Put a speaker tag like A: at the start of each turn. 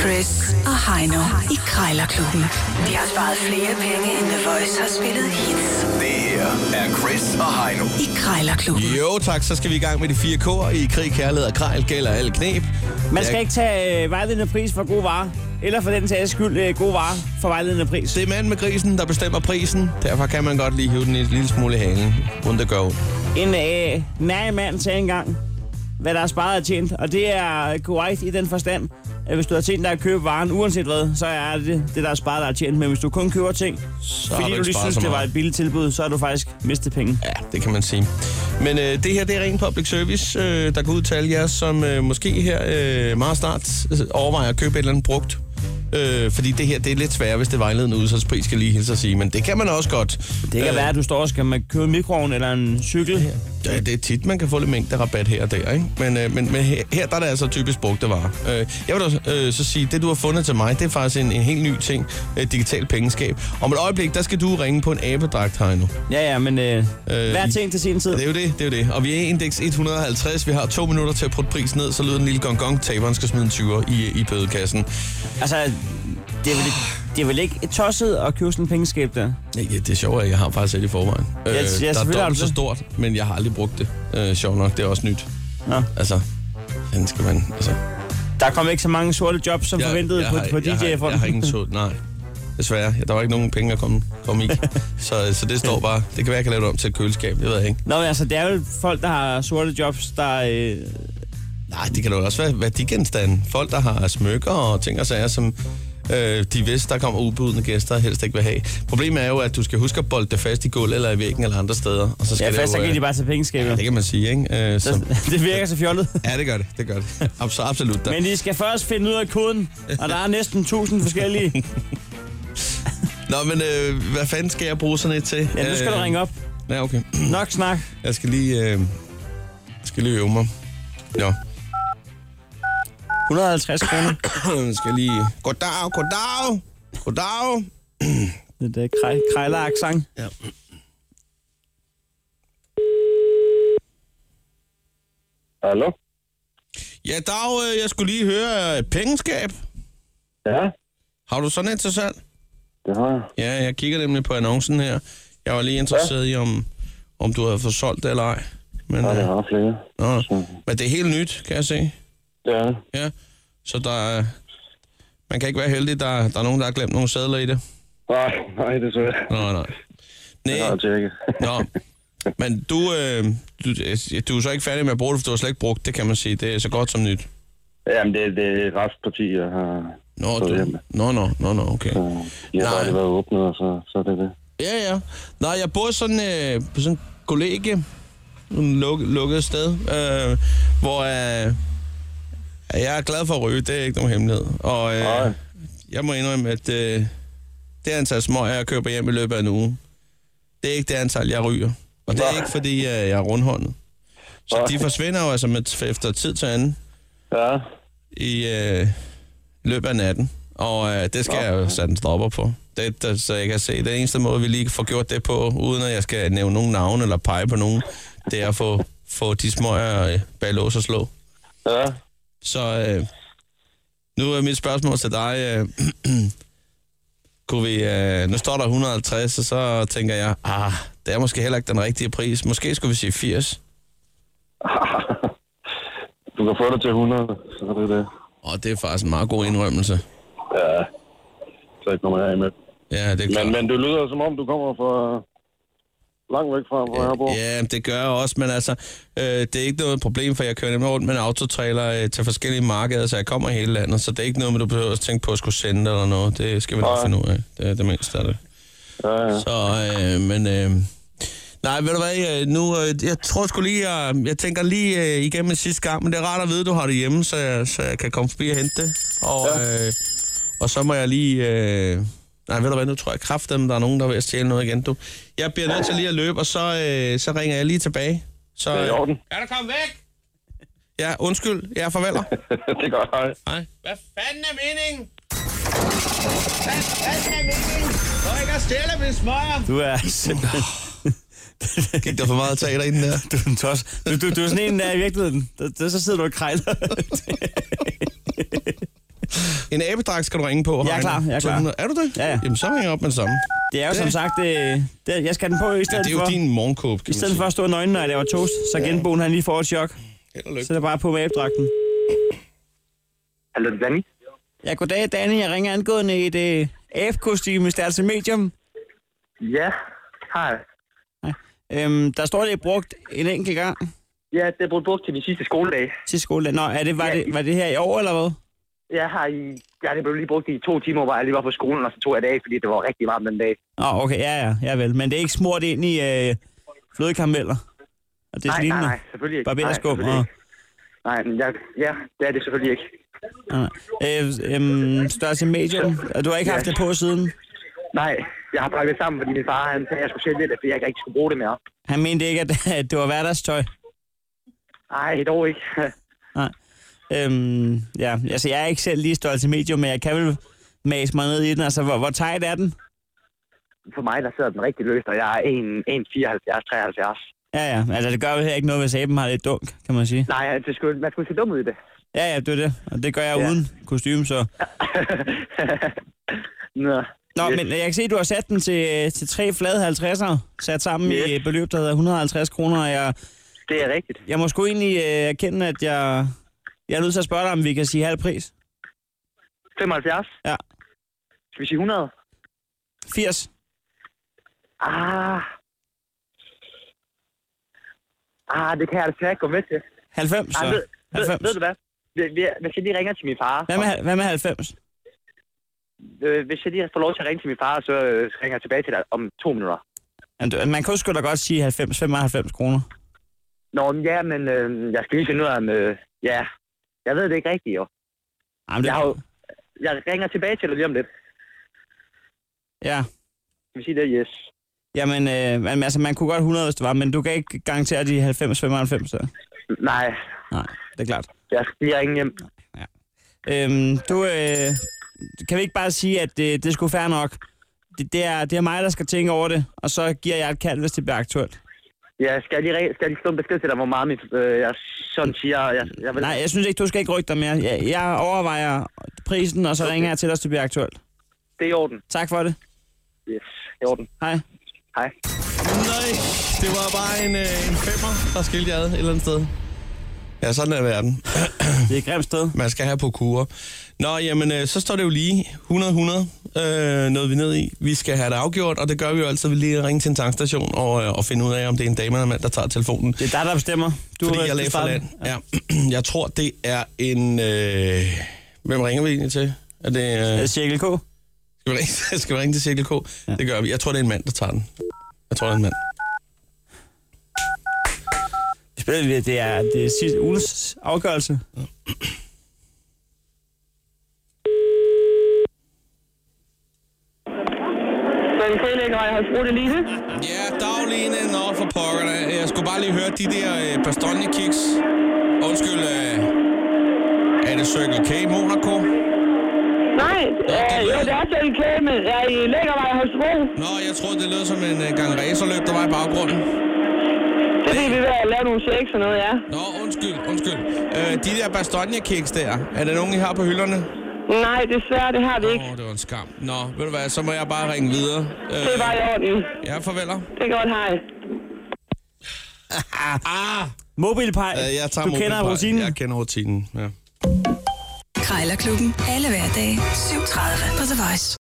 A: Chris og Heino i Krejlerklubben. De har sparet flere penge, end The Voice har spillet hits
B: Det her er Chris og Heino.
A: i Krejlerklubben.
C: Jo tak, så skal vi i gang med de fire kår i krig, kærlighed og krejl gælder alle knep.
D: Man skal
C: Jeg-
D: ikke tage øh, vejledende pris for god vare, eller for den sags skyld øh, god vare for vejledende pris.
C: Det er manden med grisen, der bestemmer prisen. Derfor kan man godt lige hive den en lille smule i halen, uden det gør ondt.
D: En øh, nær mand sagde engang, hvad der er sparet og tjent, og det er korrekt i den forstand, at hvis du har tænkt dig at købe varen, uanset hvad, så er det det, der er sparet, der er tjent. Men hvis du kun køber ting,
C: har
D: fordi
C: du
D: du,
C: ikke
D: lige
C: sparet
D: synes,
C: så
D: det var
C: meget.
D: et billigt tilbud, så har du faktisk mistet penge.
C: Ja, det kan man sige. Men øh, det her, det er ren public service, øh, der går ud til alle jer, som øh, måske her øh, meget snart øh, overvejer at købe et eller andet brugt. Øh, fordi det her, det er lidt sværere, hvis det er vejledende udsalgspris, skal jeg lige hilse at sige. Men det kan man også godt. Øh,
D: Det kan være, at du står og skal man købe en mikroovn eller en cykel.
C: Ja, det er tit, man kan få lidt mængde rabat her og der, ikke? Men, øh, men, men her, her der er det altså typisk brugte varer. Øh, jeg vil da øh, så sige, det du har fundet til mig, det er faktisk en, en helt ny ting, øh, digital pengeskab. Om et øjeblik, der skal du ringe på en abedragt, Heino.
D: Ja, ja, men øh, hver
C: i-
D: ting til sin tid.
C: Det er jo det, det er jo det. Og vi er i indeks 150, vi har to minutter til at putte prisen ned, så lyder den lille gong gong, taberen skal smide en 20'er i, i bødekassen.
D: Altså, det er vel, det er vel ikke tosset at købe sådan en pengeskab der?
C: Ja, ja, det er sjovt, at jeg har faktisk et i forvejen. Øh,
D: ja,
C: der er
D: selvfølgelig har du
C: dobbelt så
D: det.
C: stort, men jeg har aldrig brugt det. Øh, sjovt nok, det er også nyt.
D: Nå.
C: Altså, den skal man... Altså,
D: Der kom ikke så mange sorte jobs, som forventet på,
C: har-
D: på
C: jeg har- Jeg har ingen
D: DJ-fonden.
C: så, nej. Desværre, Ja, der var ikke nogen penge at komme, komme i. så, så det står bare, det kan være, jeg kan lave det om til et køleskab, det ved jeg ikke.
D: Nå, men altså, det er jo folk, der har sorte jobs, der... Øh,
C: Nej, det kan da også være værdigenstande. Folk, der har smykker og ting og sager, som øh, de vidste, der kommer ubudne gæster, helst ikke vil have. Problemet er jo, at du skal huske at bolde det fast i gulvet eller i væggen eller andre steder. Og så
D: ja,
C: skal det
D: fast
C: jo,
D: så kan
C: øh,
D: de bare tage pengeskabet.
C: Ja, det kan man sige, ikke? Øh, så,
D: Så- det virker så fjollet.
C: ja, det gør det, det gør det. Abs- absolut. Der.
D: Men de skal først finde ud af koden, og der er næsten 1000 forskellige.
C: Nå, men øh, hvad fanden skal jeg bruge sådan et til? Øh,
D: Ja, nu skal du ringe op.
C: Ja, okay.
D: Nok snak.
C: Jeg skal lige, øh, skal lige øve mig. Ja.
D: 150 kroner.
C: Jeg skal lige... Goddag, goddag, goddag.
D: Det er krej, krejler-aksang.
C: Ja.
E: Hallo?
C: Ja, dag, øh, jeg skulle lige høre øh, pengeskab.
E: Ja,
C: Har du sådan et til salg?
E: det har jeg.
C: Ja, jeg kigger nemlig på annoncen her. Jeg var lige interesseret i, om, om du havde fået solgt det eller ej. Men,
E: Ja, det
C: øh,
E: har jeg flere.
C: nå,
E: Så,
C: men det er helt nyt, kan jeg se.
E: det er det.
C: Ja. Så der, er- man kan ikke være heldig, der, der er nogen, der har glemt nogle sædler i det.
E: Nej, nej, desværre.
C: Nej, nej.
E: Det har
C: Nej,
E: jeg tjekket.
C: nå. Men du, øh, du, du er så ikke færdig med at bruge det, for du har slet ikke brugt det, kan man sige. Det er så godt som nyt.
E: Jamen, det, det er restparti, jeg har...
C: Nå,
E: Så
C: du,
E: hjemme.
C: nå, nå, nå, nå, okay.
E: øh, Jeg har
C: Nej.
E: aldrig været åbnet, og så, så er det det.
C: Ja, ja. Nej, jeg bor sådan, øh, på sådan et kollegie, en luk, lukket sted, øh, hvor øh, jeg er glad for at ryge, det er ikke nogen hemmelighed. Og øh,
E: Nej.
C: jeg må indrømme, at øh, det antal små, jeg køber hjem i løbet af en uge, det er ikke det antal, jeg ryger. Og det er
E: Nej.
C: ikke, fordi øh, jeg er rundhåndet. Så
E: Nej.
C: de forsvinder jo altså med, efter tid til anden
E: Ja,
C: i øh, løbet af natten. Og øh, det skal jeg jo sætte en stopper på. Det, det, så jeg kan se, det eneste måde, vi lige får gjort det på, uden at jeg skal nævne nogen navne eller pege på nogen, det er at få, få de smøger øh, bag lås og slå.
E: ja.
C: Så øh, nu er mit spørgsmål til dig. Øh, kunne vi, øh, nu står der 150, og så tænker jeg, ah, det er måske heller ikke den rigtige pris. Måske skulle vi sige 80.
E: Du kan få det til 100, så er det det.
C: Og det er faktisk en meget god indrømmelse.
E: Ja, så kommer jeg af med.
C: Ja, det er klart.
E: Men, men du lyder, som om du kommer fra langt væk fra, hvor jeg bor.
C: Ja, det gør jeg også, men altså, øh, det er ikke noget problem, for jeg kører nemlig rundt med en autotrailer øh, til forskellige markeder, så jeg kommer i hele landet, så det er ikke noget, med, du behøver at tænke på at skulle sende eller noget. Det skal vi nok
E: Nej.
C: finde ud af. Det er det mindste af det.
E: Ja, ja.
C: Så, øh, men... Øh, nej, ved du hvad, øh, nu, øh, jeg tror sgu lige, jeg, jeg tænker lige øh, igennem en sidste gang, men det er rart at vide, du har det hjemme, så jeg, så jeg kan komme forbi og hente det. Og, ja. øh, og så må jeg lige... Øh, nej, ved du hvad, nu tror jeg kraftedeme, der er nogen, der er ved at stjæle noget igen. Du. Jeg bliver nødt til lige at løbe, og så, øh, så ringer jeg lige tilbage. Så,
E: Det er i
C: øh,
E: orden.
C: er du kommet væk? Ja, undskyld. Jeg er farveler.
E: det er godt, hej.
C: Nej. Hvad fanden er meningen? Hvad fanden er meningen? Hvor ikke at stjæle min smøger?
D: Du er simpelthen...
C: Gik der for meget teater inden der?
D: Du er en tos. Du, du, du er sådan en, der er i virkeligheden. Der, der, så sidder du og krejler.
C: En abedrag skal du ringe på,
D: Jeg er
C: Heino.
D: klar, jeg er klar.
C: 200. Er du det?
D: Ja, ja.
C: Jamen, så ringer jeg op med det samme.
D: Det er jo
C: Det-
D: som sagt, det, det, jeg skal den på i
C: Ja,
D: stedet
C: det er jo
D: for.
C: din morgenkåb, kan
D: I stedet for at stå nøgen, når jeg laver toast, så genboen han lige får et chok.
C: Held og lykke.
D: Så er det bare på med abdragten.
F: Hallo, det er Danny.
D: Ja, goddag, Danny. Jeg ringer angående et øh, AF-kostyme, størrelse medium.
F: Ja, hej.
D: Øhm, der står, det er brugt en enkelt gang
F: Ja, det blev brugt til min sidste skoledag.
D: til skole. Nå, er det, var,
F: Ja,
D: det,
F: i-
D: var det her i år, eller hvad?
F: Jeg har i, ja, det blev lige brugt i to timer, hvor jeg lige var på skolen, og så tog jeg det af, fordi det var rigtig varmt den dag.
D: Åh, oh, okay, ja, ja, ja vel. Men det er ikke smurt ind i øh, flødekarameller? Og det
F: Nej, nej,
D: lignende?
F: nej, selvfølgelig ikke.
D: Barberskum
F: Nej, selvfølgelig
D: og...
F: ikke. Nej, men jeg, ja, det er det selvfølgelig ikke.
D: Nej. Øh, øhm, størrelse medium, og du har ikke haft
F: Ja.
D: det på siden?
F: Nej, jeg har pakket det sammen, fordi min far han sagde, at jeg skulle sælge det, fordi jeg ikke rigtig skulle bruge det mere.
D: Han mente ikke, at, at det var hverdagstøj?
F: Nej, dog ikke.
D: Nej. Øhm, ja, altså jeg er ikke selv lige størrelse medium, men jeg kan vel mase mig ned i den. Altså, hvor, hvor tight er den?
F: For mig, der sidder den rigtig løst, og jeg er 1,74-73.
D: Ja, ja. Altså, det gør vel heller ikke noget, hvis aben har lidt dunk, kan man sige.
F: Nej, det skulle, man skulle se dum ud i det.
D: Ja, ja, det er det. Og det gør jeg ja.
F: Ja.
D: uden kostume, så...
F: Nå,
D: Nå,
F: Yes.
D: men jeg kan se, at du har sat den til, til tre flade 50'er, sat sammen yes.
F: Yes.
D: i et beløb, der hedder 150 kroner. og Jeg,
F: det er rigtigt.
D: jeg må sgu egentlig øh, erkende, at jeg, jeg er nødt til at spørge dig, om vi kan sige halv pris.
F: 75?
D: Ja.
F: Skal vi sige 100?
D: 80.
F: Ah. Ah, det kan jeg altså ikke gå med til.
D: 90,
F: Ah, ved,
D: så.
F: ved,
D: 90.
F: ved, du hvad? Vi- vi- Hvis jeg lige ringer til min far,
D: Hvad med, hal- hvad med 90?
F: øh, hvis jeg lige får lov til at ringe til min far, så øh, så ringer jeg tilbage til dig om to minutter.
D: Jamen, du- Man kunne sgu da godt sige 90, 95 kroner.
F: Nå, men ja, men øh, jeg skal lige finde ud af, om... Øh, ja, jeg ved det ikke rigtigt, jo.
D: Jamen, det,
F: Jeg, har, jo- jeg ringer tilbage til dig lige om lidt.
D: Ja.
F: Skal vi sige det? Yes.
D: Jamen, øh, men altså, man kunne godt 100, hvis det var, men du kan ikke garantere de 90-95, så.
F: Nej,
D: Nej, det er klart.
F: jeg skal lige ringe hjem.
D: Øhm, du, øh, kan vi ikke bare sige, at det, det skulle fair nok? Det, det, er, det er mig, der skal tænke over det, og så giver jeg et kald, hvis det bliver aktuelt.
F: Ja, skal jeg lige, re- skal jeg lige slå en besked til dig, hvor meget mit, øh, jeg sådan siger? Jeg, jeg vil...
D: Nej, jeg synes ikke, du skal ikke rykke dig mere. Jeg, jeg overvejer prisen, og så ringer jeg til dig, hvis det bliver aktuelt.
F: Det er i orden.
D: Tak for det.
F: Yes, i orden.
D: Hej.
F: Hej.
C: Nej, det var bare en, øh, en femmer, der skilte jeg ad et eller andet sted. Ja, sådan er verden.
D: Det er et grimt sted.
C: man skal have på kurer. Nå, jamen, øh, så står det jo lige 100-100, øh, noget vi er ned i. Vi skal have det afgjort, og det gør vi jo altid ved lige at ringe til en tankstation og, øh, og finde ud af, om det er en dame eller en mand, der tager telefonen.
D: Det er dig, der bestemmer. Du
C: Fordi
D: har-
C: jeg lagde for land. Ja. Jeg tror, det er en... Øh, hvem ringer vi egentlig til? Er det,
D: Øh,
C: øh,
D: Cirkel K.
C: skal, vi ringe, skal vi ringe til Cirkel K? Ja. Det gør vi. Jeg tror, det er en mand, der tager den. Jeg tror, det er en mand.
D: Spiller vi- Det er, det er sidste ugens afgørelse.
G: Den frilægger jeg har brugt det lige.
C: Ja, dagligene, nå for pokker da. Jeg skulle bare lige høre de der øh, pastogne-kiks. Undskyld, øh, er det Circle K i Monaco?
G: Nej, øh, jo, det er selv kæme. Jeg er i Lækkervej hos Bro.
C: Nå, jeg troede, det lød som en øh, gang racerløb, der var i baggrunden.
G: Det er fordi, vi er ved at lave nogle shakes og noget, ja.
C: Nå, undskyld, undskyld. Øh, de der Bastogne-kiks der, er der nogen, I har på hylderne?
G: Nej, desværre, det har vi ikke.
C: Åh, det var en skam. Nå, ved du hvad, så må jeg bare ringe videre. Øh,
G: Det er bare i orden.
C: Ja, farveler.
G: Det er godt, hej.
C: Ah,
D: Mobilpej.
C: øh, jeg tager
D: du kender
C: mobilpej.
D: rutinen.
C: Jeg kender rutinen, ja.
A: Krejlerklubben. Alle hverdage. 7.30 på The Voice.